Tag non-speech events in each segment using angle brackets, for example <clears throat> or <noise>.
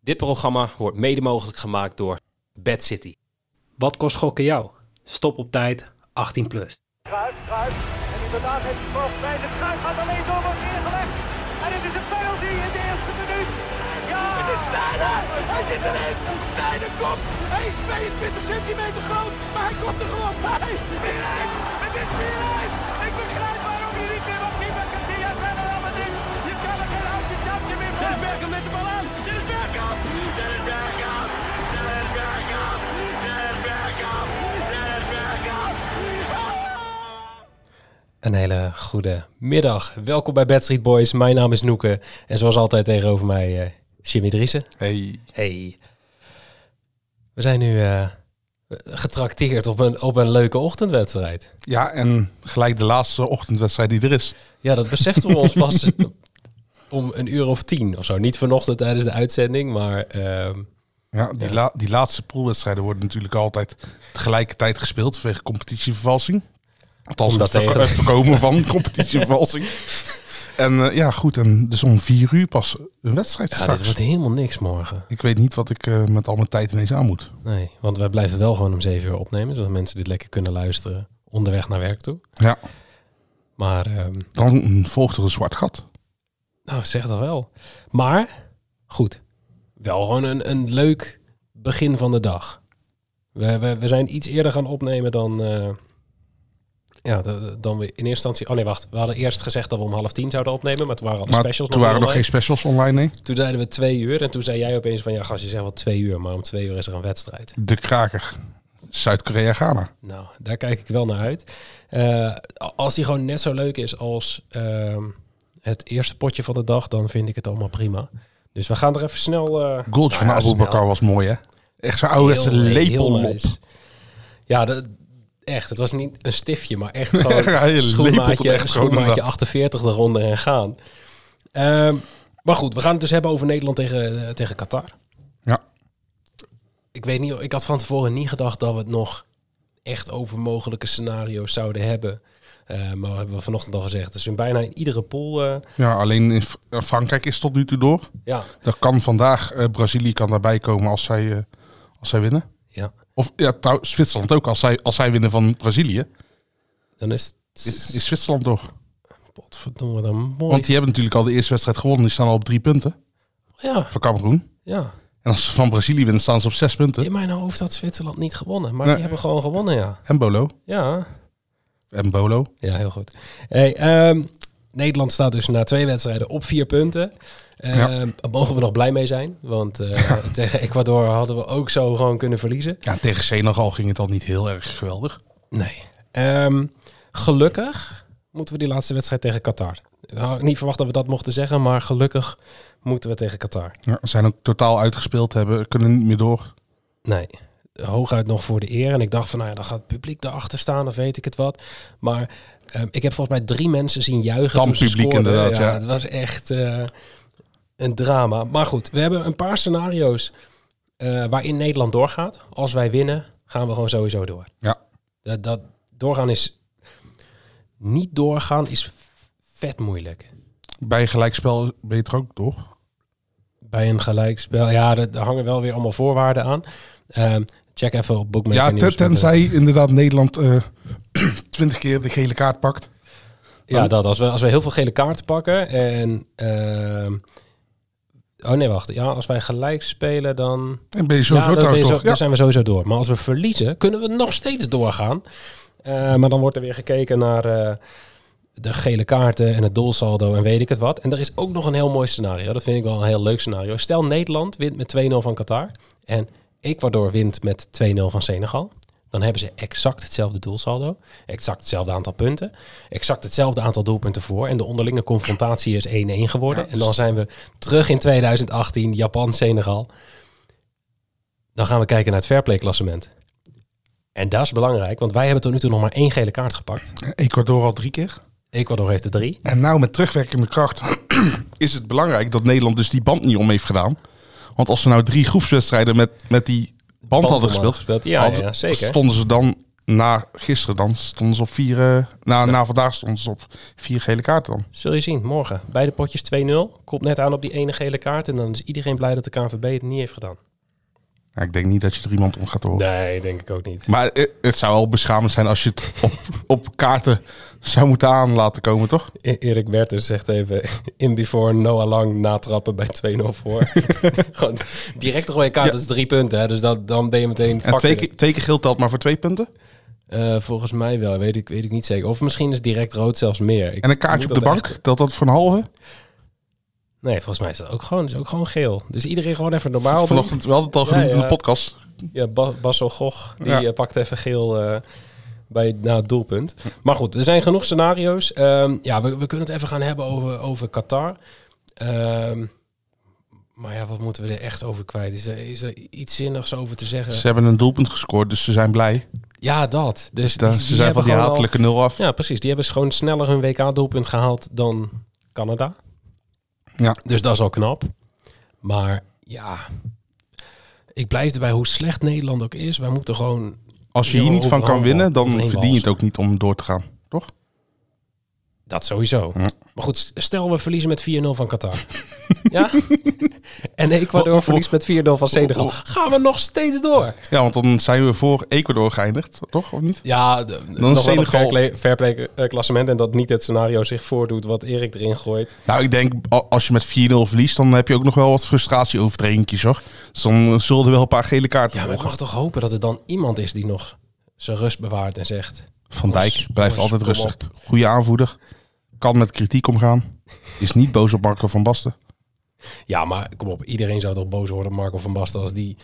Dit programma wordt mede mogelijk gemaakt door Bad City. Wat kost gokken jou? Stop op tijd, 18 plus. Kruis, Kruis. En inderdaad heeft hij pas bij de Kruis. Gaat alleen door, wordt neergelegd. En het is een penalty in de eerste minuut. Ja! Het is Snijder! Hij zit erin! Snijder komt! Hij is 22 centimeter groot, maar hij komt er gewoon bij! Weer in! Het is weer in! Ik begrijp waarom je niet meer mag kiepen. Katia verder allemaal niet! Je kan er geen houtje tapje meer Dit is Bergkamp met de bal aan! Dit is Bergkamp! Dit is Bergkamp! Dit is Bergkamp! Dit is Bergkamp! Dit is Bergkamp! Een hele goede middag. Welkom bij Bad Street Boys. Mijn naam is Noeke. En zoals altijd tegenover mij eh, Jimmy Driessen. Hey, Hey. We zijn nu eh, getrakteerd op een, op een leuke ochtendwedstrijd. ja, en gelijk de laatste ochtendwedstrijd die er is. Ja, dat beseften we ons <laughs> pas om een uur of tien of zo. Niet vanochtend tijdens de uitzending, maar... ehm, Ja, die, la- die laatste poolwedstrijden worden natuurlijk altijd tegelijkertijd gespeeld vanwege competitievervalsing. Althans, Omdat het, verko- tegen- het <laughs> voorkomen van competitievervalsing. En eh, ja, goed, en dus om vier uur pas een wedstrijd ja, straks. dit wordt helemaal niks morgen. Ik weet niet wat ik eh, met al mijn tijd ineens aan moet. Nee, want wij blijven wel gewoon om zeven uur opnemen, zodat mensen dit lekker kunnen luisteren onderweg naar werk toe. Ja, Maar, ehm, dan volgt er een zwart gat. nou zeg dat wel. Maar, goed, wel gewoon een, een leuk begin van de dag. We, we, we zijn iets eerder gaan opnemen dan, eh, ja, de- de- dan we in eerste instantie... Oh nee, wacht, we hadden eerst gezegd dat we om half tien zouden opnemen, maar toen waren alle Maar specials toen waren er nog online. geen specials online, nee. Toen zeiden we twee uur en toen zei jij opeens van... Ja, gast, je zegt wel twee uur, maar om twee uur is er een wedstrijd. De kraker. Zuid-Korea-Ghana. Nou, daar kijk ik wel naar uit. Eh, als die gewoon net zo leuk is als ehm, het eerste potje van de dag, dan vind ik het allemaal prima. Dus we gaan er even snel. eh Goaltje van nou ja, Abu Bakar snel. was mooi, hè? Echt zo'n ouderwetse Heel- heel lepel op. nice. Ja, dat, echt. Het was niet een stiftje, maar <laughs> echt gewoon Ja, je lepelt schoenmaatje, het echt gewoon schoenmaatje inderdaad. 48 eronder en gaan. Ehm, maar goed, we gaan het dus hebben over Nederland tegen, eh, tegen Qatar. Ja. Ik weet niet, ik had van tevoren niet gedacht dat we het nog echt over mogelijke scenario's zouden hebben. Eh, maar hebben we vanochtend al gezegd. Dus in bijna in iedere pool. eh, Ja, alleen in F- eh, Frankrijk is tot nu toe door. ja, Dat kan vandaag, eh, Brazilië kan daarbij komen als zij, eh, als zij winnen. ja, Of ja, trouw, Zwitserland ook, als zij, als zij winnen van Brazilië, dan is het. is, is Zwitserland door. Potverdomme, dan mooi. Want die hebben natuurlijk al de eerste wedstrijd gewonnen, die staan al op drie punten ja, voor Cameroen. ja. En als ze van Brazilië winnen, staan ze op zes punten. In mijn hoofd had Zwitserland niet gewonnen. Maar Nee. die hebben gewoon gewonnen, ja. En Bolo. Ja, En Bolo. ja heel goed. Hey, ehm, Nederland staat dus na twee wedstrijden op vier punten. Ehm, Ja. Daar mogen we nog blij mee zijn. Want eh, tegen Ecuador hadden we ook zo gewoon kunnen verliezen. Ja, tegen Senegal ging het al niet heel erg geweldig. Nee. Ehm, gelukkig moeten we die laatste wedstrijd tegen Qatar. Ik had niet verwacht dat we dat mochten zeggen, maar gelukkig moeten we tegen Qatar. Ja, ze zijn ook totaal uitgespeeld, hebben, kunnen niet meer door. Nee, hooguit nog voor de eer. En ik dacht van, nou ja, dan gaat het publiek erachter staan of weet ik het wat. Maar ehm, ik heb volgens mij drie mensen zien juichen Dan toen ze publiek scoorden. inderdaad, ja. Het was echt eh, een drama. Maar goed, we hebben een paar scenario's eh, waarin Nederland doorgaat. Als wij winnen, gaan we gewoon sowieso door. Ja. Dat, dat doorgaan is... Niet doorgaan is vet moeilijk. Bij een gelijkspel ben je er ook door. Bij een gelijkspel, ja, er er hangen wel weer allemaal voorwaarden aan. Ehm, check even op Bookmaker Ja, ten- Nieuws. tenzij inderdaad Nederland eh, <clears throat> twintig keer de gele kaart pakt. Ja, dat. Als we, als we heel veel gele kaarten pakken en... ehm, oh nee, wacht. Ja, als wij gelijk spelen, dan... En ben je Ja, dan, ben sowieso je trouwens zo- dus- toch? dan Ja. zijn we sowieso door. Maar als we verliezen, kunnen we nog steeds doorgaan. Eh, maar dan wordt er weer gekeken naar eh, de gele kaarten en het doelsaldo en weet ik het wat. En er is ook nog een heel mooi scenario. Dat vind ik wel een heel leuk scenario. Stel Nederland wint met 2-0 van Qatar en Ecuador wint met 2-0 van Senegal. Dan hebben ze exact hetzelfde doelsaldo, exact hetzelfde aantal punten, exact hetzelfde aantal doelpunten voor. En de onderlinge confrontatie is 1-1 geworden. En dan zijn we terug in 2018, Japan-Senegal. Dan gaan we kijken naar het fairplay klassement. En dat is belangrijk, want wij hebben tot nu toe nog maar één gele kaart gepakt. Ecuador al drie keer. Ecuador heeft er drie. En nou met terugwerkende kracht <clears throat> is het belangrijk dat Nederland dus die band niet om heeft gedaan. Want als ze nou drie groepswedstrijden met, met die band, Band om hadden gespeeld, hadden gespeeld, ja, hadden- ja, zeker. stonden ze dan na gisteren dan stonden ze op vier. eh, na, na vandaag stonden ze op vier gele kaarten dan. Zul je zien, morgen. Beide potjes 2-0. Komt net aan op die ene gele kaart. En dan is iedereen blij dat de KNVB het niet heeft gedaan. Ja, ik denk niet dat je er iemand om gaat horen. Nee, denk ik ook niet. Maar eh, het zou wel beschamend zijn als je het op, op kaarten zou moeten aan laten komen, toch? E- Erik Bertens zegt even <laughs> in before Noah Lang natrappen bij 2-0 voor. <laughs> Gewoon direct rode kaart, dat is drie punten. Hè? Dus dat, dan ben je meteen En twee fucked. keer, twee keer geel telt maar voor twee punten. Eh, volgens mij wel, weet ik, weet ik niet zeker. Of misschien is direct rood zelfs meer. Ik En een kaartje moet op de dat bank, telt dat voor een halve? echt- Nee, volgens mij is dat ook gewoon, is ook gewoon geel. Dus iedereen gewoon even normaal doen. Vanochtend, we hadden het al genoemd Ja, in ja. de podcast. Ja, Ba- Basso Gog, die Ja. eh, pakt even geel eh, bij, na het doelpunt. Maar goed, er zijn genoeg scenario's. Ehm, ja, we, we kunnen het even gaan hebben over, over Qatar. Ehm, maar ja, wat moeten we er echt over kwijt? Is er, is er iets zinnigs over te zeggen? Ze hebben een doelpunt gescoord, dus ze zijn blij. Ja, dat. Dus Dan, die- ze die zijn hebben van die gewoon al- hatelijke nul af. Ja, precies. Die hebben ze gewoon sneller hun WK-doelpunt gehaald dan Canada. Ja. Dus dat is al knap. Maar ja, ik blijf erbij hoe slecht Nederland ook is. Wij moeten gewoon Als je hier Ja, niet van overal kan winnen, dan wel. Overheen verdien je het ook niet om door te gaan, toch? Dat sowieso. Ja. Maar goed, stel we verliezen met 4-0 van <laughs> Qatar. ja? En Ecuador verliest met 4-0 van Senegal. Gaan we nog steeds door? Ja, want dan zijn we voor Ecuador geëindigd, toch? Of niet? Ja, de, Dan nog wel een Senegal. fair play- fair play, eh, klassement. En dat niet het scenario zich voordoet wat Erik erin gooit. Nou, ik denk a- als je met 4-0 verliest, dan heb je ook nog wel wat frustratieovertredingjes, hoor. Dus dan zullen er wel een paar gele kaarten Ja, maar ik volgen. mag toch hopen dat er dan iemand is die nog zijn rust bewaart en zegt... Van Dijk Jongens, blijft jongens, altijd kom rustig. Goede aanvoerder. Kan met kritiek omgaan. Is niet boos op Marco van Basten. Ja, maar kom op, iedereen zou toch boos worden op Marco van Basten... als die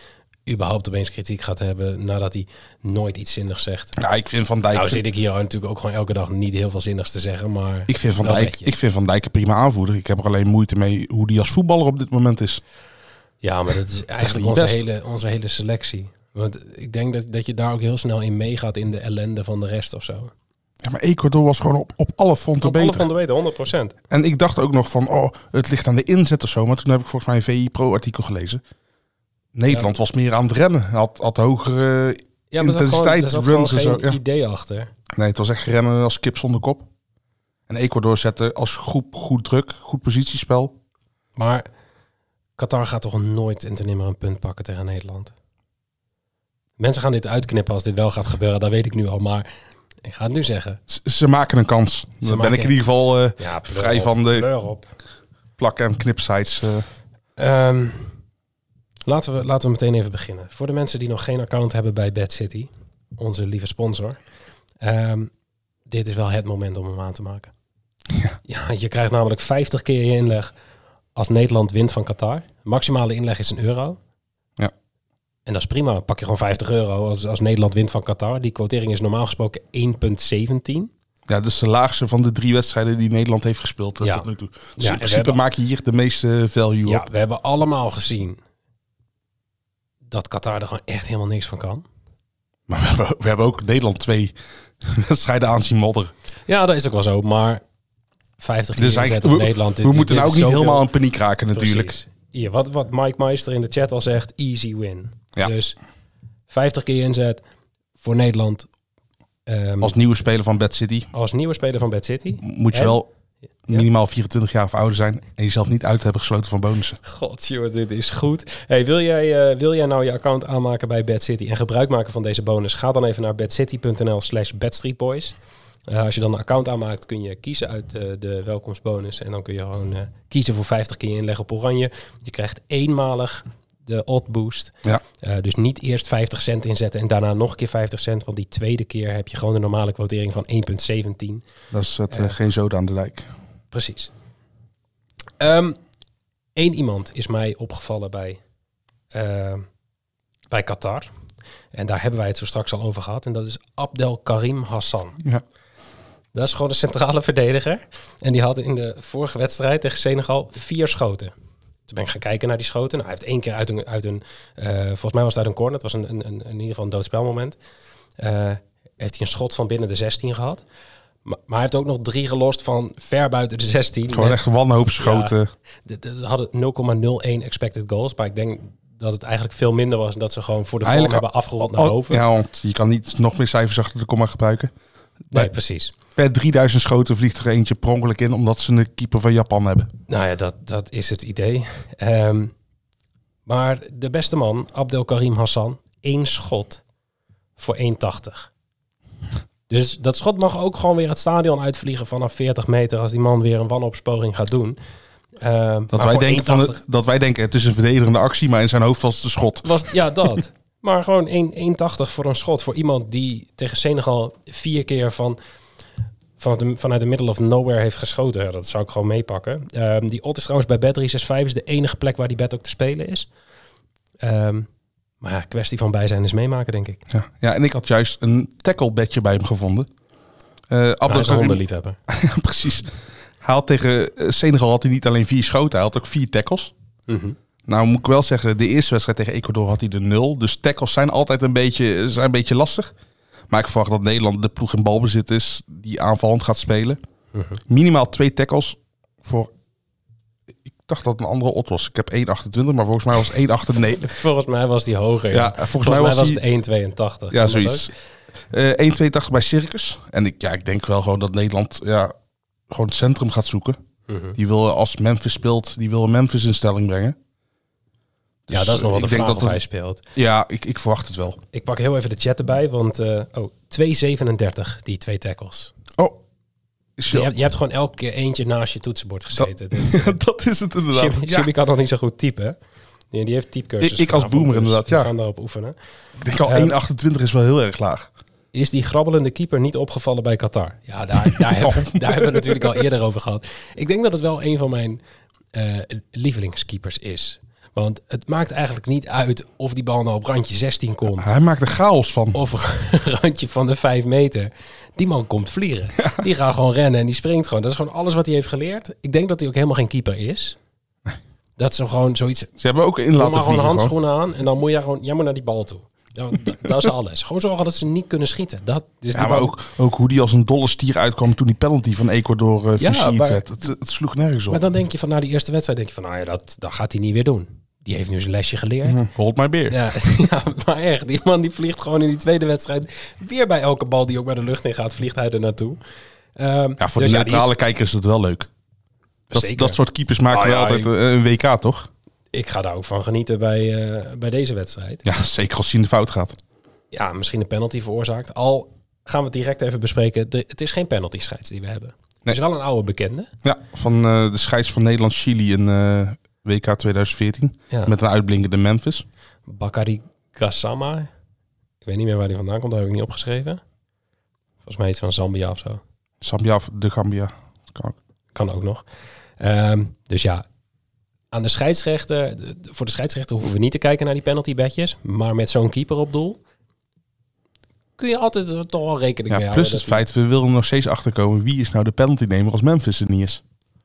überhaupt opeens kritiek gaat hebben nadat hij nooit iets zinnigs zegt. Ja, ik vind Van Dijk... Nou zit ik hier natuurlijk ook gewoon elke dag niet heel veel zinnigs te zeggen, maar... ik vind, van wel Dijk, netjes. ik vind Van Dijk een prima aanvoerder. Ik heb er alleen moeite mee hoe die als voetballer op dit moment is. Ja, maar dat is eigenlijk niet onze best. hele, onze hele selectie. Want ik denk dat, dat je daar ook heel snel in meegaat in de ellende van de rest of zo. Ja, maar Ecuador was gewoon op, op alle fronten beter. de weten, 100 procent. En ik dacht ook nog van, oh, het ligt aan de inzet of zo. Maar toen heb ik volgens mij een VI Pro-artikel gelezen. Nederland was meer aan het rennen. Had, had hogere... Ja, maar er zat gewoon, Intensiteit, er zat gewoon runs en geen zo, ja. idee achter. Nee, het was echt rennen als kip zonder kop. En Ecuador zette als groep goed druk, goed positiespel. Maar Qatar gaat toch nooit en ten nimmer een punt pakken tegen Nederland. Mensen gaan dit uitknippen als dit wel gaat gebeuren, dat weet ik nu al. Maar ik ga het nu zeggen. Z- ze maken een kans. Daar ben maken- ik in ieder geval eh, Ja, vrij van de Kleur op. plak- en knipsites. eh. Ehm, laten, we, laten we meteen even beginnen. Voor de mensen die nog geen account hebben bij Bad City, onze lieve sponsor. ehm, dit is wel het moment om hem aan te maken. Ja. je krijgt namelijk 50 keer je inleg als Nederland wint van Qatar. Maximale inleg is een euro. Ja. En dat is prima. Pak je gewoon 50 euro als, als Nederland wint van Qatar. Die quotering is normaal gesproken 1,17. ja, dus de laagste van de drie wedstrijden die Nederland heeft gespeeld eh, Ja. tot nu toe. Dus Ja, en we in principe hebben- maak je hier de meeste value Ja, op. we hebben allemaal gezien dat Qatar er gewoon echt helemaal niks van kan. Maar we hebben, we hebben ook Nederland twee <laughs> wedstrijden aan zien modderen. Ja, dat is ook wel zo, maar 50 keer Dus inzet eigenlijk, op we, Nederland. we moeten nou is ook niet zoveel- helemaal in paniek raken natuurlijk. Precies. Hier, wat, wat Mike Meister in de chat al zegt, easy win. Ja. Dus 50 keer inzet voor Nederland ehm, Als als, nieuwe speler van Bad City nieuwe speler van Bad City. moet je En? wel minimaal 24 jaar of ouder zijn en jezelf niet uit hebben gesloten van bonussen. God, joh, dit is goed. Hey, wil, jij, eh, wil jij nou je account aanmaken bij Bad City en gebruik maken van deze bonus? Ga dan even naar badcity.nl slash badstreetboys. Eh, als je dan een account aanmaakt, kun je kiezen uit eh, de welkomstbonus. En dan kun je gewoon eh, kiezen voor 50 keer inleggen op oranje. Je krijgt eenmalig de odd boost. Ja. Eh, dus niet eerst 50 cent inzetten en daarna nog een keer 50 cent. Want die tweede keer heb je gewoon de normale quotering van 1,17. Dat is het, eh, geen zoden aan de dijk. Precies. Eén Ehm, iemand is mij opgevallen bij, eh, bij Qatar. En daar hebben wij het zo straks al over gehad. En dat is Abdel Karim Hassan. Ja. Dat is gewoon een centrale verdediger. En die had in de vorige wedstrijd tegen Senegal vier schoten. Toen ben ik gaan kijken naar die schoten. Nou, hij heeft één keer uit een... Uit een eh, volgens mij was het uit een corner. Het was een, een, een, in ieder geval een doodspelmoment. Eh, heeft hij een schot van binnen de 16 gehad. Maar, maar hij heeft ook nog drie gelost van ver buiten de 16. Gewoon Met- echt wanhoopschoten. de- de- Ze hadden 0,01 expected goals. Maar ik denk dat het eigenlijk veel minder was. En dat ze gewoon voor de vorm Eigenlijk hebben afgerond naar Oh, boven. Ja, want je kan niet nog meer cijfers achter de komma gebruiken. nee, precies. Per 3000 schoten vliegt er eentje per ongeluk in, omdat ze een keeper van Japan hebben. Nou ja, dat, dat is het idee. Ehm, maar de beste man, Abdelkarim Hassan, één schot voor 1,80. Dus dat schot mag ook gewoon weer het stadion uitvliegen vanaf 40 meter als die man weer een wanopsporing gaat doen. Ehm, maar Dat, wij voor denken, van 1,80 het, dat wij denken, het is een verdedigende actie, maar in zijn hoofd was het een schot. Was, ja, dat. maar gewoon 1 1,80 voor een schot. Voor iemand die tegen Senegal vier keer van, vanuit, de, vanuit de middle of nowhere heeft geschoten. Ja, Dat zou ik gewoon meepakken. Ehm, die odd is trouwens bij Bet365 is de enige plek waar die bet ook te spelen is. Ehm, maar ja, kwestie van bij zijn is meemaken, denk ik. Ja. ja, en ik had juist een tacklebedje bij hem gevonden. Eh Hij is een Abdelkarim, hondenliefhebber. <laughs> ja, precies. Hij had tegen eh, Senegal had hij niet alleen vier schoten, hij had ook vier tackles. Mhm. Nou moet ik wel zeggen, de eerste wedstrijd tegen Ecuador had hij de nul. Dus tackles zijn altijd een beetje, zijn een beetje lastig. Maar ik verwacht dat Nederland de ploeg in balbezit is die aanvallend gaat spelen. Mhm. Minimaal twee tackles voor... Ik dacht dat het een andere odd was. Ik heb 1,28, maar volgens mij was 1,98. Nee. Volgens mij was die hoger. Ja, volgens, mij was, die- het 1,82. Kan Ja, dat zoiets. Eh 1,82 bij Circus. En ik, ja, ik denk wel gewoon dat Nederland ja, gewoon het centrum gaat zoeken. ook? Mhm. Die wil als Memphis speelt, die wil Memphis in stelling brengen. Dus Ja, dat is nog wel ik de denk vraag of dat hij het- speelt. Ja, ik, ik verwacht het wel. Ik pak heel even de chat erbij, want... eh oh, 2,37 die twee tackles. Oh, zo. Je hebt, je hebt gewoon elke keer eentje naast je toetsenbord <laughs> gezeten. Dat, dat is het inderdaad. Jimmy, ja, Jimmy kan nog niet zo goed typen. Nee, die heeft typecursus. Ik- ik als vanavond, boomer dus inderdaad, ja. We gaan daarop oefenen. ik denk al eh, 1,28 is wel heel erg laag. Is die grabbelende keeper niet opgevallen bij Qatar? Ja, daar, <laughs> daar, hebben, daar hebben we het natuurlijk al eerder over gehad. Ik denk dat het wel een van mijn eh, lievelingskeepers is. Want het maakt eigenlijk niet uit of die bal nou op randje 16 komt. Hij maakt er chaos van. Of <laughs> randje van de 5 meter. Die man komt vliegen. Die gaat gewoon rennen en die springt gewoon. Dat is gewoon alles wat hij heeft geleerd. Ik denk dat hij ook helemaal geen keeper is. Dat ze gewoon zoiets. Ze hebben ook in Doe laten maar gewoon vliegen. gewoon. handschoenen aan en dan moet je gewoon. Jij moet naar die bal toe. Ja, <laughs> dat, dat is alles. Gewoon zorgen dat ze niet kunnen schieten. Dat is die Ja, maar man- ook, ook hoe die als een dolle stier uitkwam toen die penalty van Ecuador eh Ja, versierd maar- werd. Het, het sloeg nergens op. maar dan denk je van na die eerste wedstrijd. Denk je van nou ja, dat, dat gaat hij niet weer doen. Die heeft nu zijn lesje geleerd. Hm, Hold my beer. Ja, <laughs> ja, maar echt. Die man die vliegt gewoon in die tweede wedstrijd. Weer bij elke bal die ook bij de lucht in gaat, vliegt hij er naartoe. Ehm, Ja, voor dus de ja, die neutrale is- kijker is het wel leuk. Dat, Zeker. dat soort keepers maken Ah, wel ja, altijd ik- eh, een WK, toch? ik ga daar ook van genieten bij, eh, bij deze wedstrijd. Ja, zeker als hij in de fout gaat. Ja, misschien een penalty veroorzaakt. Al gaan we het direct even bespreken. De- het is geen penalty scheids die we hebben. Het is wel een oude bekende. Ja, van eh, de scheids van Nederland-Chili in eh, WK 2014. Ja. Met een uitblinkende Memphis. Bakari Gassama. Ik weet niet meer waar die vandaan komt. Dat heb ik niet opgeschreven. Volgens mij iets van Zambia of zo. Zambia of de Gambia. Kan ook. Kan ook nog. Ehm, dus ja, aan de scheidsrechter, de- de- voor de scheidsrechter hoeven we niet te kijken naar die penalty bedjes. Maar met zo'n keeper op doel kun je altijd er toch wel rekening mee Ja, houden. plus het dat die- feit, we willen er nog steeds achterkomen wie is nou de penaltynemer als Memphis er niet is.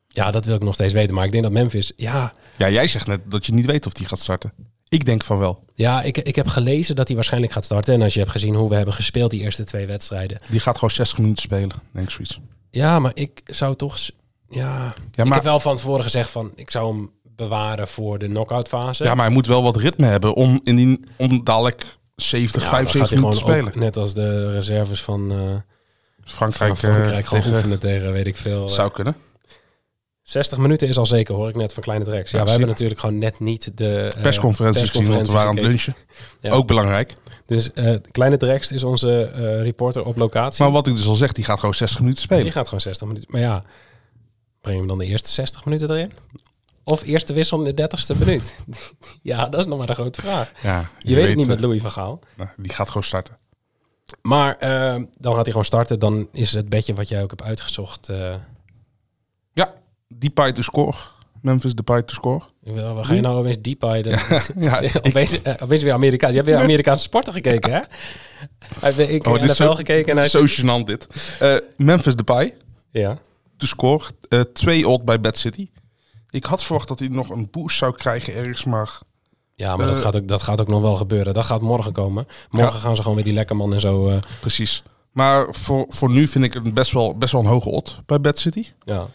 Ja, dat wil ik nog steeds weten. Maar ik denk dat Memphis... Ja, Ja, jij zegt net dat je niet weet of die gaat starten. Ik denk van wel. ja ik, ik heb gelezen dat hij waarschijnlijk gaat starten. En als je hebt gezien hoe we hebben gespeeld die eerste twee wedstrijden. Die gaat gewoon 60 minuten spelen, denk ik zoiets. Ja, maar ik zou toch... s- Ja, Ja, ik maar, heb wel van tevoren gezegd van... Ik zou hem bewaren voor de knock-out fase. ja, maar hij moet wel wat ritme hebben om, in die, om dadelijk 70, Ja, dan 75 gaat hij minuten te gewoon ook spelen. net als de reserves van... eh, Frankrijk, Van Frankrijk eh, gewoon tegen- oefenen tegen, weet ik veel. eh, zou kunnen. 60 minuten is al zeker, hoor ik net van Kleine Drex. Ja, Ja, wij hebben zeker. natuurlijk gewoon net niet de... eh, Persconferentie gezien, want we waren aan het gekeken. lunchen. Ja. Ook belangrijk. Dus eh, Kleine Drex is onze eh, reporter op locatie. Maar wat ik dus al zeg, die gaat gewoon 60 minuten Die spelen. gaat gewoon 60 minuten. Maar ja, breng hem dan de eerste 60 minuten erin? Of eerste wissel in de 30ste minuut? <laughs> ja, dat is nog maar de grote vraag. Ja, Je, weet het niet eh, met Louis van Gaal. nou, Die gaat gewoon starten. Maar eh, dan gaat hij gewoon starten. Dan is het bedje wat jij ook hebt uitgezocht... eh, Ja, die pie to score. Memphis Depay to score. <laughs> ik wil- we gaan je nou opeens Depay. Dat, Ja, ik, <laughs> opeens, eh, opeens weer Amerikaans. Je hebt weer Amerikaanse sporten gekeken, hè? Hij heeft ik Oh, oh, dit is NFL zo- gekeken en hij... zo gênant dit. Eh, Memphis Depay Ja. to score. Eh, twee odd bij Bad City. Ik had verwacht dat hij nog een boost zou krijgen ergens, maar Ja, maar dat, Eh. gaat ook, dat gaat ook nog wel gebeuren. Dat gaat morgen komen. Morgen Ja. gaan ze gewoon weer die lekkerman en zo... eh, precies. Maar voor, voor nu vind ik het best wel, best wel een hoge odd bij Bad City. ja.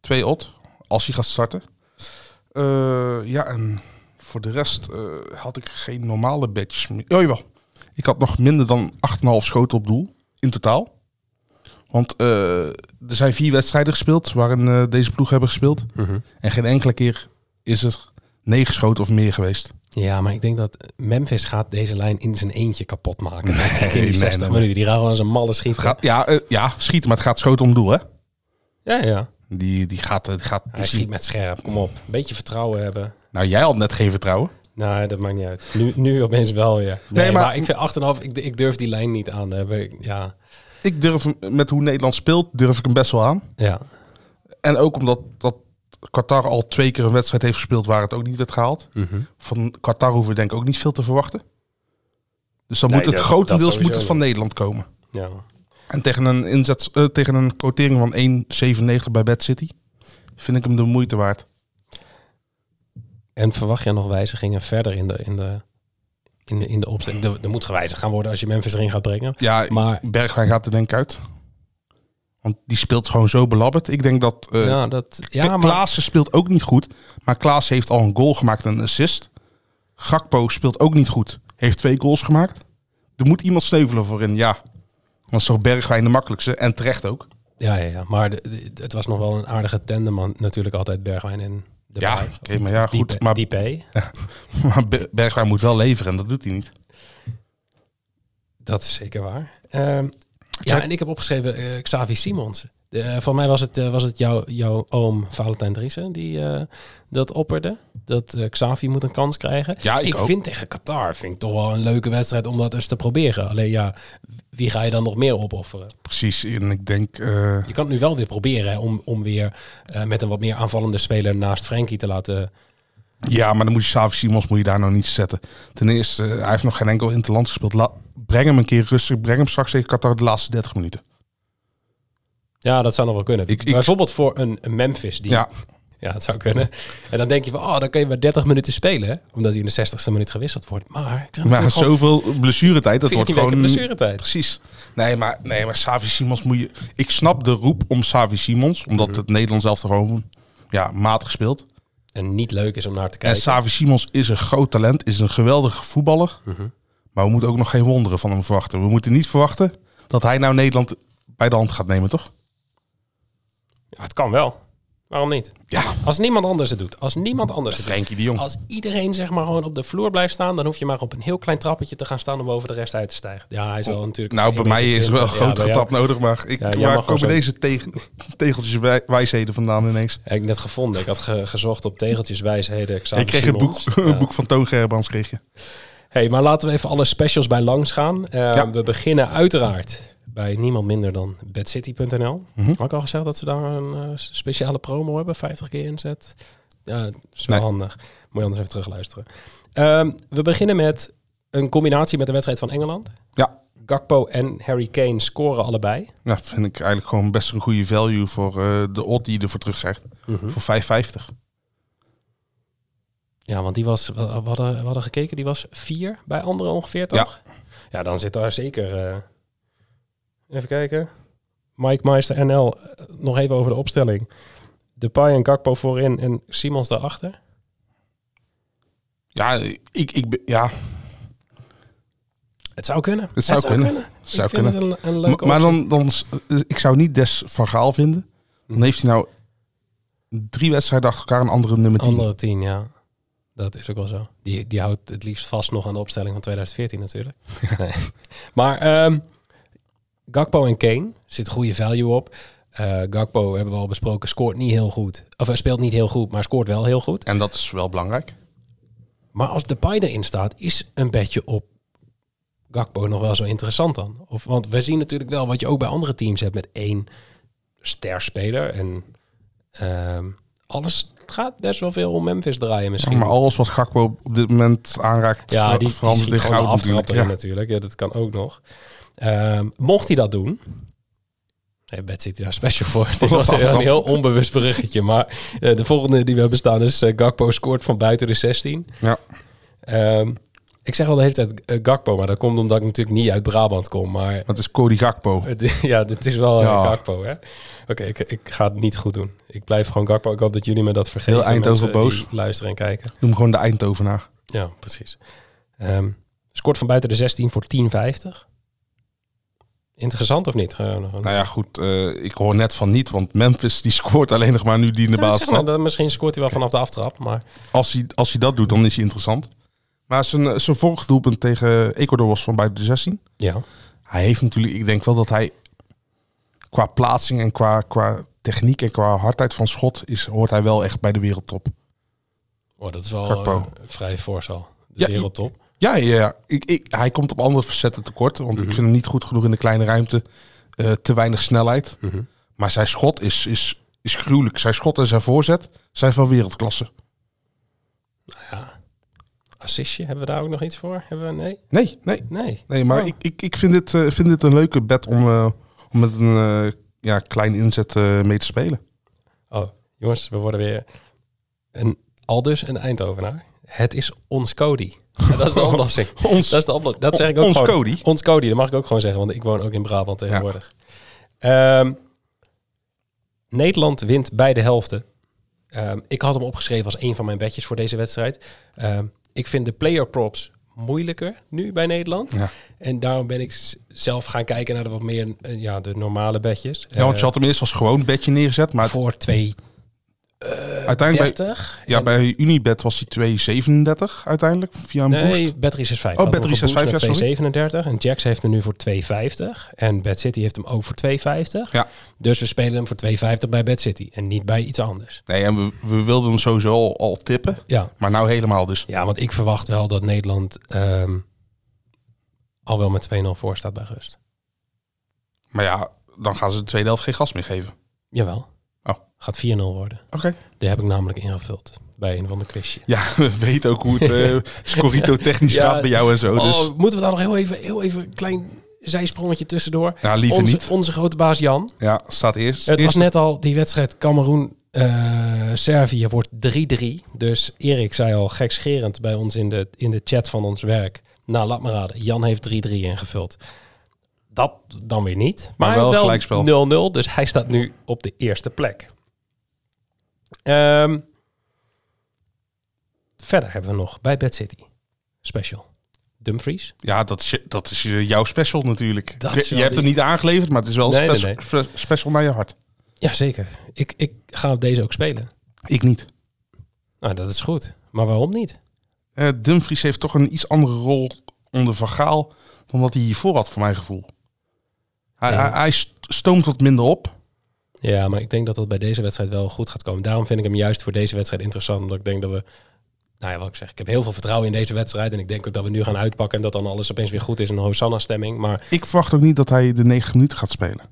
Twee odd, als hij gaat starten. Eh, ja, en Voor de rest eh, had ik geen normale badges meer. Oh jawel. Ik had nog minder dan 8,5 schoten op doel. In totaal. Want eh, er zijn vier wedstrijden gespeeld waarin eh, deze ploeg hebben gespeeld. En geen enkele keer is er negen schoten of meer geweest. Ja, maar ik denk dat Memphis gaat deze lijn in zijn eentje kapot maken. Nee, Nee, nee, die 60 nee. minuten, die gaan gewoon als een malle schieten. Het gaat, ja, eh, ja, schieten, maar het gaat schoten om doel, hè? Ja, ja. Die, die gaat... eh, Die gaat Hij schiet met scherp, kom op. Beetje vertrouwen hebben. Nou, jij had net geen vertrouwen. Nou, dat maakt niet uit. Nu, nu opeens wel, ja. Nee, Nee, maar- maar, ik vind 8,5, ik, ik durf die lijn niet aan. Daar heb ik- Ja, Ik durf hem, met hoe Nederland speelt, durf ik hem best wel aan. ja. En ook omdat dat Qatar al twee keer een wedstrijd heeft gespeeld waar het ook niet werd gehaald. Van Qatar hoeven we denk ik ook niet veel te verwachten. Dus dan Nee, moet het dat- dat grotendeels sowieso moet het van niet. Nederland komen. ja. En tegen een, inzet, eh, tegen een quotering van 1,97 bij Bad City vind ik hem de moeite waard. En verwacht je nog wijzigingen verder in de, in de, in de, in de opstelling? Er, er moet gewijzigd gaan worden als je Memphis erin gaat brengen. Ja, Maar- Bergwijn gaat er denk ik uit. Want die speelt gewoon zo belabberd. Ik denk dat eh, ja, dat, ja, Klaassen maar speelt ook niet goed. Maar Klaas heeft al een goal gemaakt en een assist. Gakpo speelt ook niet goed. Heeft twee goals gemaakt. Er moet iemand sneuvelen voor in, ja. Dan is toch Bergwijn de makkelijkste. En terecht ook. <laughs> Ja, ja, ja. maar de- de- het was nog wel een aardige tandem man. natuurlijk altijd Bergwijn en de Ja, Baai. oké, maar ja, Of goed, Diepe- maar- Diepe. Maar Be- Bergwijn moet wel leveren en dat doet hij niet. dat is zeker waar. Ehm, ja, en ik heb opgeschreven eh, Xavi Simons. Eh van mij was het, eh, was het jouw, jouw oom Valentijn Driessen die eh, dat opperde. Dat eh, Xavi moet een kans krijgen. Ja, ik ook. vind tegen Qatar vind ik toch wel een leuke wedstrijd om dat eens te proberen. Alleen ja, wie ga je dan nog meer opofferen? Precies. En ik denk... eh, Je kan het nu wel weer proberen hè, om, om weer eh, met een wat meer aanvallende speler naast Frenkie te laten... ja, maar dan moet je Savi Simons moet je daar nou niet zetten. Ten eerste, eh, hij heeft nog geen enkel interland gespeeld. La- breng hem een keer rustig. Breng hem straks tegen Qatar de laatste 30 minuten. Ja, dat zou nog wel kunnen. Ik- ik- Bijvoorbeeld voor een, een Memphis. Die, Ja. Ja, het zou kunnen. En dan denk je van, oh, dan kun je maar 30 minuten spelen. hè, Omdat hij in de 60ste minuut gewisseld wordt. Maar, ik krijg Maar natuurlijk gewoon zoveel blessuretijd, dat wordt 14 weken gewoon... blessuretijd. Precies. Nee, maar, nee, maar Savi Simons moet je... Ik snap de roep om Savi Simons, omdat Mhm. het Nederlands zelf toch gewoon ja, matig speelt. En niet leuk is om naar te En kijken. Savi Simons is een groot talent, is een geweldige voetballer. Mhm. Maar we moeten ook nog geen wonderen van hem verwachten. We moeten niet verwachten dat hij nou Nederland bij de hand gaat nemen, toch? Ja, het kan wel. Waarom niet? Ja. Als niemand anders het doet. Als niemand anders het Frenkie de doet. Jong. Als iedereen zeg maar gewoon op de vloer blijft staan, dan hoef je maar op een heel klein trappetje te gaan staan om boven de rest uit te stijgen. Ja, hij zal natuurlijk... Nou, bij mij is er wel een groot getrapt. getap nodig, maar ik, Ja, jij waar mag gewoon komen zo- deze teg- tegeltjes wij- wijsheden vandaan ineens? Heb ik net gevonden. Ik had ge- gezocht op tegeltjes, wijsheden, Xavi Ik kreeg een boek, Simons. <laughs> Ja. een boek van Toon Gerbrands, kreeg je. Hey, maar laten we even alle specials bij langs gaan. Eh, We beginnen uiteraard bij niemand minder dan bedcity.nl. Had ik al gezegd dat ze daar een eh, speciale promo hebben, 50 keer inzet. Ja, dat is wel Nee. handig. Moet je anders even terugluisteren. Ehm, we beginnen met een combinatie met de wedstrijd van Engeland. Ja, Gakpo en Harry Kane scoren allebei. Nou, vind ik eigenlijk gewoon best een goede value voor eh, de odd die je ervoor terugkrijgt. Hm? Voor 5,50. Ja, want die was, we we hadden, we hadden gekeken, die was vier bij anderen ongeveer, toch? Ja, dan zit daar zeker... eh, even kijken. Mike Meister NL, eh, nog even over de opstelling. Depay en Gakpo voorin en Simons daarachter. Ja, ik, ik, ben- ja Het zou kunnen. het zou, kunnen. Het zou Ik vind kunnen. het een, een leuke maar maar optie. Hm. dan, dan, is- eh, ik zou niet Des van Gaal vinden. Dan heeft hij nou drie wedstrijden achter elkaar een andere nummer 10. Andere tien, ja. Dat is ook wel zo. Die, die houdt het liefst vast nog aan de opstelling van 2014 natuurlijk. Nee. <laughs> Maar ehm, Gakpo en Kane zit goede value op. Eh, Gakpo hebben we al besproken, scoort niet heel goed. Of hij speelt niet heel goed, maar scoort wel heel goed. En dat is wel belangrijk. Maar als Depay erin staat, is een bedje op Gakpo nog wel zo interessant dan? Of, want we zien natuurlijk wel wat je ook bij andere teams hebt met één sterspeler. En ehm, alles het gaat best wel veel om Memphis draaien misschien. Maar alles wat Gakpo op dit moment aanraakt, Ja, ver- die, die verandert schiet in gewoon de goud aftrap natuurlijk. erin Ja. natuurlijk. Ja, dat kan ook nog. Ehm, mocht hij dat doen... Nee, Bed zit daar special voor. <laughs> Dit was aftrap. een heel onbewust berichtje. Maar eh, de volgende die we hebben staan is... eh, Gakpo scoort van buiten de 16. Ja. Ehm, Ik zeg al de hele tijd eh, Gakpo, maar dat komt omdat ik natuurlijk niet uit Brabant kom. Maar Dat is Cody Gakpo. het- <laughs> ja, dit is wel eh, Ja. Gakpo, hè? Oké, ik, ik ga het niet goed doen. Ik blijf gewoon Gakpo. Ik hoop dat jullie me dat vergeten. Heel Eindhoven mensen die boos. Luisteren en kijken. Noem gewoon de Eindhovenaar. Ja, precies. Ehm, scoort van buiten de 16 voor 10,50. Interessant of niet? Gewoon- gewoon- Nou ja, goed. eh, ik hoor net van niet, want Memphis die scoort alleen nog maar nu die in de Ja, ik baas zeg maar, staat. dat- misschien scoort hij wel vanaf de aftrap, maar Als hij, als hij dat doet, dan is hij interessant. Maar zijn, eh, zijn vorig doelpunt tegen Ecuador was van buiten de 16. ja. Hij heeft natuurlijk, ik denk wel dat hij qua plaatsing en qua, qua techniek en qua hardheid van schot is, hoort hij wel echt bij de wereldtop. Oh, dat is wel Gakpo. eh, vrij fors al. De Ja, wereldtop. Ja, ja, ja. Ik, ik, hij komt op andere facetten tekort. Want ik vind hem niet goed genoeg in de kleine ruimte. Eh, te weinig snelheid. Maar zijn schot is, is, is gruwelijk. Zijn schot en zijn voorzet zijn van wereldklasse. Ja. Assistje, hebben we daar ook nog iets voor? Hebben we, nee? Nee, nee. Nee. Nee, maar Oh. ik, ik, ik vind, dit, eh, vind dit een leuke bet om, eh, om met een eh, ja, kleine inzet eh, mee te spelen. Oh, jongens, we worden weer een aldus een Eindhovenaar. Het is ons <laughs> Cody. Ja, dat is de oplossing. Ons- dat is de oplossing. Dat zeg ik ook ons gewoon. Cody? Ons Cody, dat mag ik ook gewoon zeggen, want ik woon ook in Brabant tegenwoordig. Ehm, Nederland wint beide helften. Ehm, ik had hem opgeschreven als een van mijn bedjes voor deze wedstrijd. Ehm, ik vind de player props moeilijker nu bij Nederland. Ja. En daarom ben ik s- zelf gaan kijken naar de wat meer eh, ja, de normale bedjes. Ja, want je had hem eerst als gewoon bedje neergezet. Maar Eh, voor 2,30. uiteindelijk bij, ja, bij Unibet was hij 2,37 uiteindelijk. Via een boost. Nee, Batteries is 5. Oh, Bad 365, ja, sorry. 237 en Jax heeft hem nu voor 250 en Bad City heeft hem ook voor 250. Ja. Dus we spelen hem voor 250 bij Bad City en niet bij iets anders. Nee, en we, we wilden hem sowieso al, al tippen. Ja. Maar nou helemaal dus. Ja, want ik verwacht wel dat Nederland ehm, al wel met 2-0 voor staat bij rust. Maar ja, dan gaan ze de tweede helft geen gas meer geven. Jawel. Oh. Gaat 4-0 worden. Oké. Die heb ik namelijk ingevuld bij een van de quizje. Ja, <laughs> we weten ook hoe het <laughs> eh, scorito technisch Ja. gaat bij jou en zo. Dus Oh, moeten we daar nog heel even, heel even een klein zijsprongetje tussendoor? Ja, Nou, liever onze, niet. Onze grote baas Jan. ja, staat eerst. Het was eerst- net al die wedstrijd Cameroen-Servië wordt 3-3. Dus Erik zei al gekscherend bij ons in de, in de chat van ons werk. Nou, laat me raden. Jan heeft 3-3 ingevuld. Dat dan weer niet. Maar, wel hij heeft gelijkspel. wel 0-0. Dus hij staat nu op de eerste plek. Ehm, verder hebben we nog bij Bad City Special. Dumfries. Ja, dat is, je- dat is je- jouw special natuurlijk. Dat je is wel je hebt die- het niet aangeleverd, maar het is wel Nee, nee, special, spe- special naar je hart. Jazeker. Ik, ik ga op deze ook spelen. Ik niet. Nou, dat is goed. Maar waarom niet? Eh, Dumfries heeft toch een iets andere rol onder Van Gaal dan dat hij hiervoor had, voor mijn gevoel. Hij, Ja. hij, hij st- stoomt wat minder op. Ja, maar ik denk dat dat bij deze wedstrijd wel goed gaat komen. Daarom vind ik hem juist voor deze wedstrijd interessant. Omdat ik denk dat we. Nou ja, wat ik zeg. Ik heb heel veel vertrouwen in deze wedstrijd. En ik denk ook dat we nu gaan uitpakken. En dat dan alles opeens weer goed is. Een Hosanna-stemming. Maar Ik verwacht ook niet dat hij de 9 minuten gaat spelen.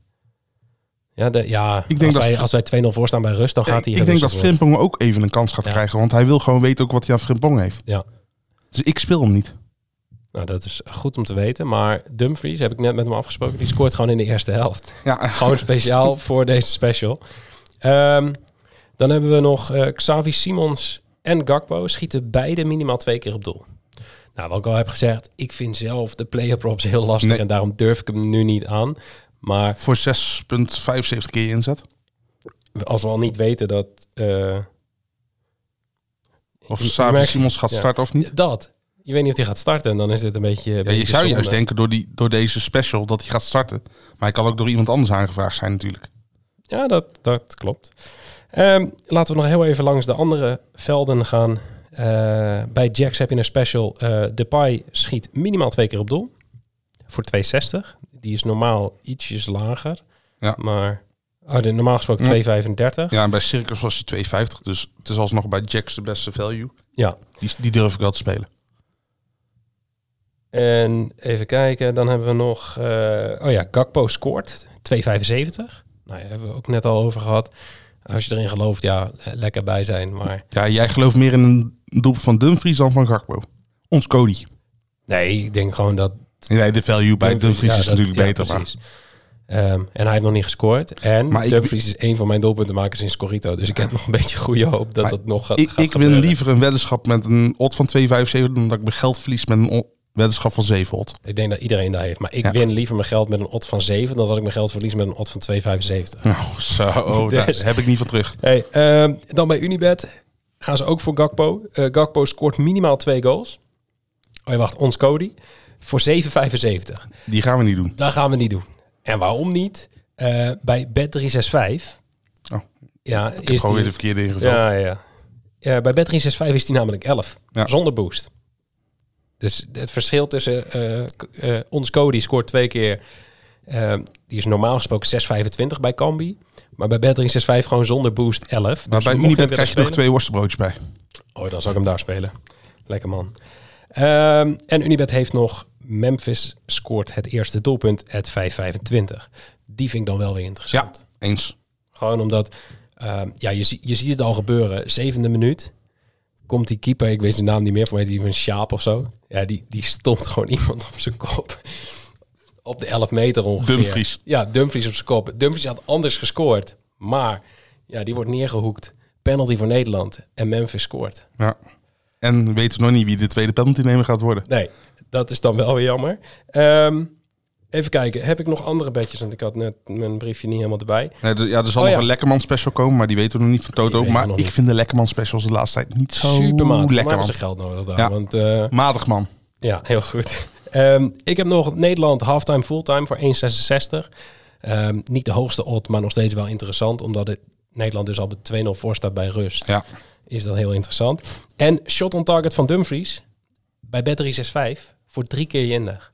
ja, de, ja denk als, dat- wij, als wij 2-0 voorstaan bij rust, dan gaat hij. ik denk dat gewisseld worden. Frimpong ook even een kans gaat Ja. krijgen. Want hij wil gewoon weten ook wat hij aan Frimpong heeft. Ja. Dus ik speel hem niet. Nou, dat is goed om te weten. Maar Dumfries, heb ik net met hem afgesproken. Die scoort gewoon in de eerste helft. Ja, Gewoon speciaal voor deze special. Ehm, dan hebben we nog eh, Xavi Simons en Gakpo schieten beide minimaal twee keer op doel. Nou, wat ik al heb gezegd, ik vind zelf de player props heel lastig Nee. en daarom durf ik hem nu niet aan. Maar <laughs> voor 6,75 keer je inzet. als we al niet weten dat eh, Of Je- je Savi merkt- Simons gaat ja. starten of niet. dat je weet niet of hij gaat starten en dan is dit een beetje. Ja, je zou juist denken door, die, door deze special dat hij gaat starten. Maar hij kan ook door iemand anders aangevraagd zijn natuurlijk. Ja, dat, dat klopt. Ehm, laten we nog heel even langs de andere velden gaan. Eh, bij Jacks heb je een special. eh Depay schiet minimaal twee keer op doel. Voor 2,60. Die is normaal ietsjes lager. Ja. Maar oh, de- normaal gesproken Ja. 2,35. Ja. Ja, en bij Circus was hij 2,50. Dus het is alsnog bij Jacks de beste value. Die, die durf ik wel te spelen. En even kijken. Dan hebben we nog... eh, oh ja, Gakpo scoort. 2,75. Nou ja, hebben we ook net al over gehad. Als je erin gelooft, ja, le- lekker bij zijn. Maar Ja, jij gelooft meer in een doelpunt van Dumfries dan van Gakpo. Ons Cody. nee, ik denk gewoon dat Nee, de value bij Dumfries, ja, is dat- natuurlijk ja, beter. Maar precies. Ehm, en hij heeft nog niet gescoord. En Maar ik- Dumfries is een van mijn doelpuntenmakers in Scorito. Dus ik heb nog een beetje goede hoop dat Maar dat nog gaat ik gaat ik win gebeuren. liever een weddenschap met een odd van 2,75 dan dat ik mijn geld verlies met een o- weddenschap van 7 odd. Ik denk dat iedereen daar heeft. Maar ik Ja. win liever mijn geld met een odd van 7... dan dat ik mijn geld verlies met een odd van 2,75. Nou, zo, Dus- <laughs> daar heb ik niet van terug. Hey, ehm, dan bij Unibet gaan ze ook voor Gakpo. Eh, Gakpo scoort minimaal twee goals. Oh ja, wacht, ons Cody. Voor 7,75. Die gaan we niet doen. Dat gaan we niet doen. En waarom niet? Eh, bij Bet365... Oh. ja, is Gewoon die- weer de verkeerde ingevuld. ja, ja. ja, bij Bet365 is die namelijk 11. Ja. Zonder boost. Dus het verschil tussen... eh, k- eh, ons Cody scoort twee keer... eh, die is normaal gesproken 6,25 bij Cambi. Maar bij Bet365 gewoon zonder boost 11. Maar Dus bij mocht Unibet willen krijg je nog spelen- twee worstenbroodjes bij. Oh, dan zou ik hem daar spelen. Lekker man. Ehm, en Unibet heeft nog Memphis scoort het eerste doelpunt at 5,25. Die vind ik dan wel weer Ja, interessant. eens. Gewoon omdat, ehm, ja, je, zie- je ziet het al gebeuren. Zevende minuut komt die keeper, ik weet zijn naam niet meer, voor mij die van Sjaap of zo. Ja, die, die stomt gewoon <laughs> iemand op zijn kop. Op de 11 meter ongeveer. Dumfries. Ja, Dumfries op zijn kop. Dumfries had anders gescoord. Maar ja, die wordt neergehoekt. Penalty voor Nederland. En Memphis scoort. Ja. En we weten nog niet wie de tweede penaltynemer gaat worden. Nee, dat is dan wel weer jammer. Ehm, even kijken, heb ik nog andere bedjes? Want ik had net mijn briefje niet helemaal erbij. Nee, d- ja, er Oh, zal nog ja. een Lekkerman special komen, maar die weten we nog niet van Die Toto. weten we Maar nog ik niet. vind de Lekkerman specials de laatste tijd niet zo Supermaat, maar lekker, hebben ze man. geld nodig daar. Ja. Want eh, Matig, man. ja, heel goed. Ehm, ik heb nog Nederland halftime fulltime voor 1,66. Ehm, niet de hoogste odd, maar nog steeds wel interessant. Omdat het Nederland dus al met 2-0 voor staat bij rust. Ja. Is dat heel interessant. En shot on target van Dumfries bij battery 65 voor drie keer jinder.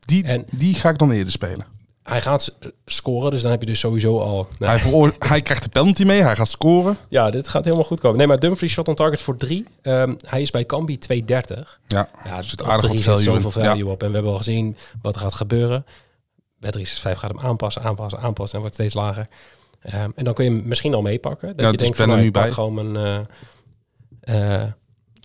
Die, En- die ga ik dan eerder spelen. Hij gaat s- scoren, dus dan heb je dus sowieso al... Nou, Hij, veroor- hij krijgt de penalty mee, hij gaat scoren. Ja, dit gaat helemaal goed komen. Nee, maar Dumfries shot on target voor 3. hij is bij Cambi 2,30. Ja, Ja, er het zit aardig wat value in. zoveel value Ja. op. En we hebben al gezien wat er gaat gebeuren. Bij 365 gaat hem aanpassen, aanpassen, aanpassen. En wordt steeds lager. Ehm, en dan kun je hem misschien al meepakken. Dat Ja, je dus denkt ik ben van, nou, er nu ik pak bij. gewoon eh, een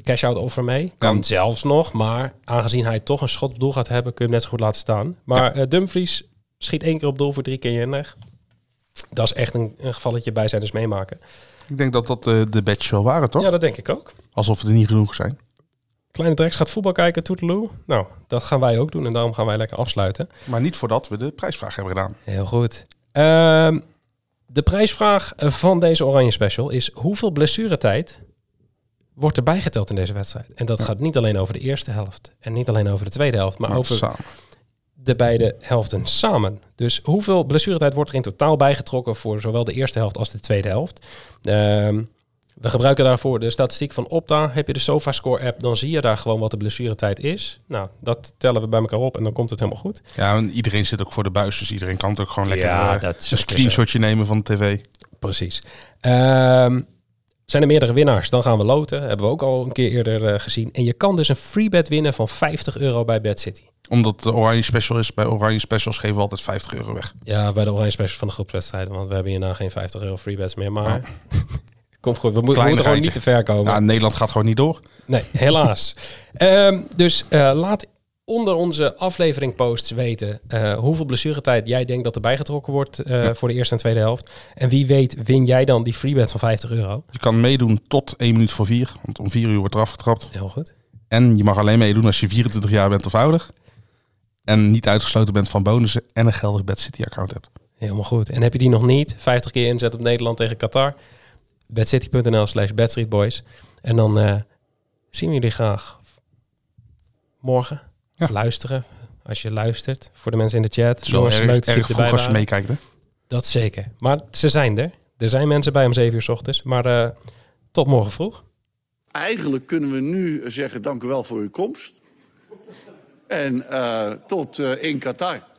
cash-out offer mee. Kan Ja. zelfs nog. Maar aangezien hij toch een schot op doel gaat hebben... kun je hem net zo goed laten staan. Maar eh, Dumfries schiet één keer op doel voor drie keer jennig. Dat is echt een, een gevalletje bij zijn dus meemaken. Ik denk dat dat eh, de badges wel waren, toch? Ja, dat denk ik ook. Alsof er niet genoeg zijn. Kleine Drex gaat voetbal kijken, toedeloe. Nou, dat gaan wij ook doen en daarom gaan wij lekker afsluiten. Maar niet voordat we de prijsvraag hebben gedaan. Heel goed. Ehm, de prijsvraag van deze Oranje Special is... hoeveel blessuretijd wordt erbij geteld in deze wedstrijd? En dat gaat niet alleen over de eerste helft en niet alleen over de tweede helft... maar Maar over samen. de beide helften samen. Dus hoeveel blessuretijd wordt er in totaal bijgetrokken... voor zowel de eerste helft als de tweede helft? Ehm, we gebruiken daarvoor de statistiek van Opta. Heb je de SofaScore-app, dan zie je daar gewoon wat de blessuretijd is. Nou, dat tellen we bij elkaar op en dan komt het helemaal goed. Ja, en iedereen zit ook voor de buis, dus iedereen kan het ook gewoon lekker Ja, eh, dat een zeker screenshotje nemen van de tv. Precies. Ehm, zijn er meerdere winnaars? Dan gaan we loten. Hebben we ook al een keer eerder eh, gezien. En je kan dus een free bet winnen van 50 euro bij Bad City. Omdat de Oranje Special is, bij Oranje Specials geven we altijd 50 euro weg. Ja, bij de Oranje Specials van de groepswedstrijden. Want we hebben hierna geen 50 euro free bets meer. Maar <laughs> kom goed. We, moeten- we moeten gewoon rijtje. niet te ver komen. Ja, Nou, Nederland gaat gewoon niet door. Nee, <laughs> helaas. Ehm, dus eh, laat onder onze aflevering posts weten eh, hoeveel blessuretijd jij denkt dat erbij getrokken wordt eh, voor de eerste en tweede helft. En wie weet win jij dan die free bet van 50 euro. Je kan meedoen tot 1 minuut voor 4, want om 4 uur wordt er afgetrapt. Heel goed. En je mag alleen meedoen als je 24 jaar bent of ouder. En niet uitgesloten bent van bonussen en een geldig Bad City account hebt. Helemaal goed. En heb je die nog niet? 50 keer inzet op Nederland tegen Qatar. Bedcity.nl slash bedstreetboys. En dan eh, zien we jullie graag morgen. Ja. Of luisteren, als je luistert. Voor de mensen in de chat. Het is wel Jongens, erg, leuk dat erg je erbij vroeg als je waren. meekijkt. Hè? Dat zeker. Maar ze zijn er. Er zijn mensen bij om 7 uur 's ochtends. Maar eh, tot morgen vroeg. Eigenlijk kunnen we nu zeggen: dank u wel voor uw komst. En eh, tot eh, in Qatar.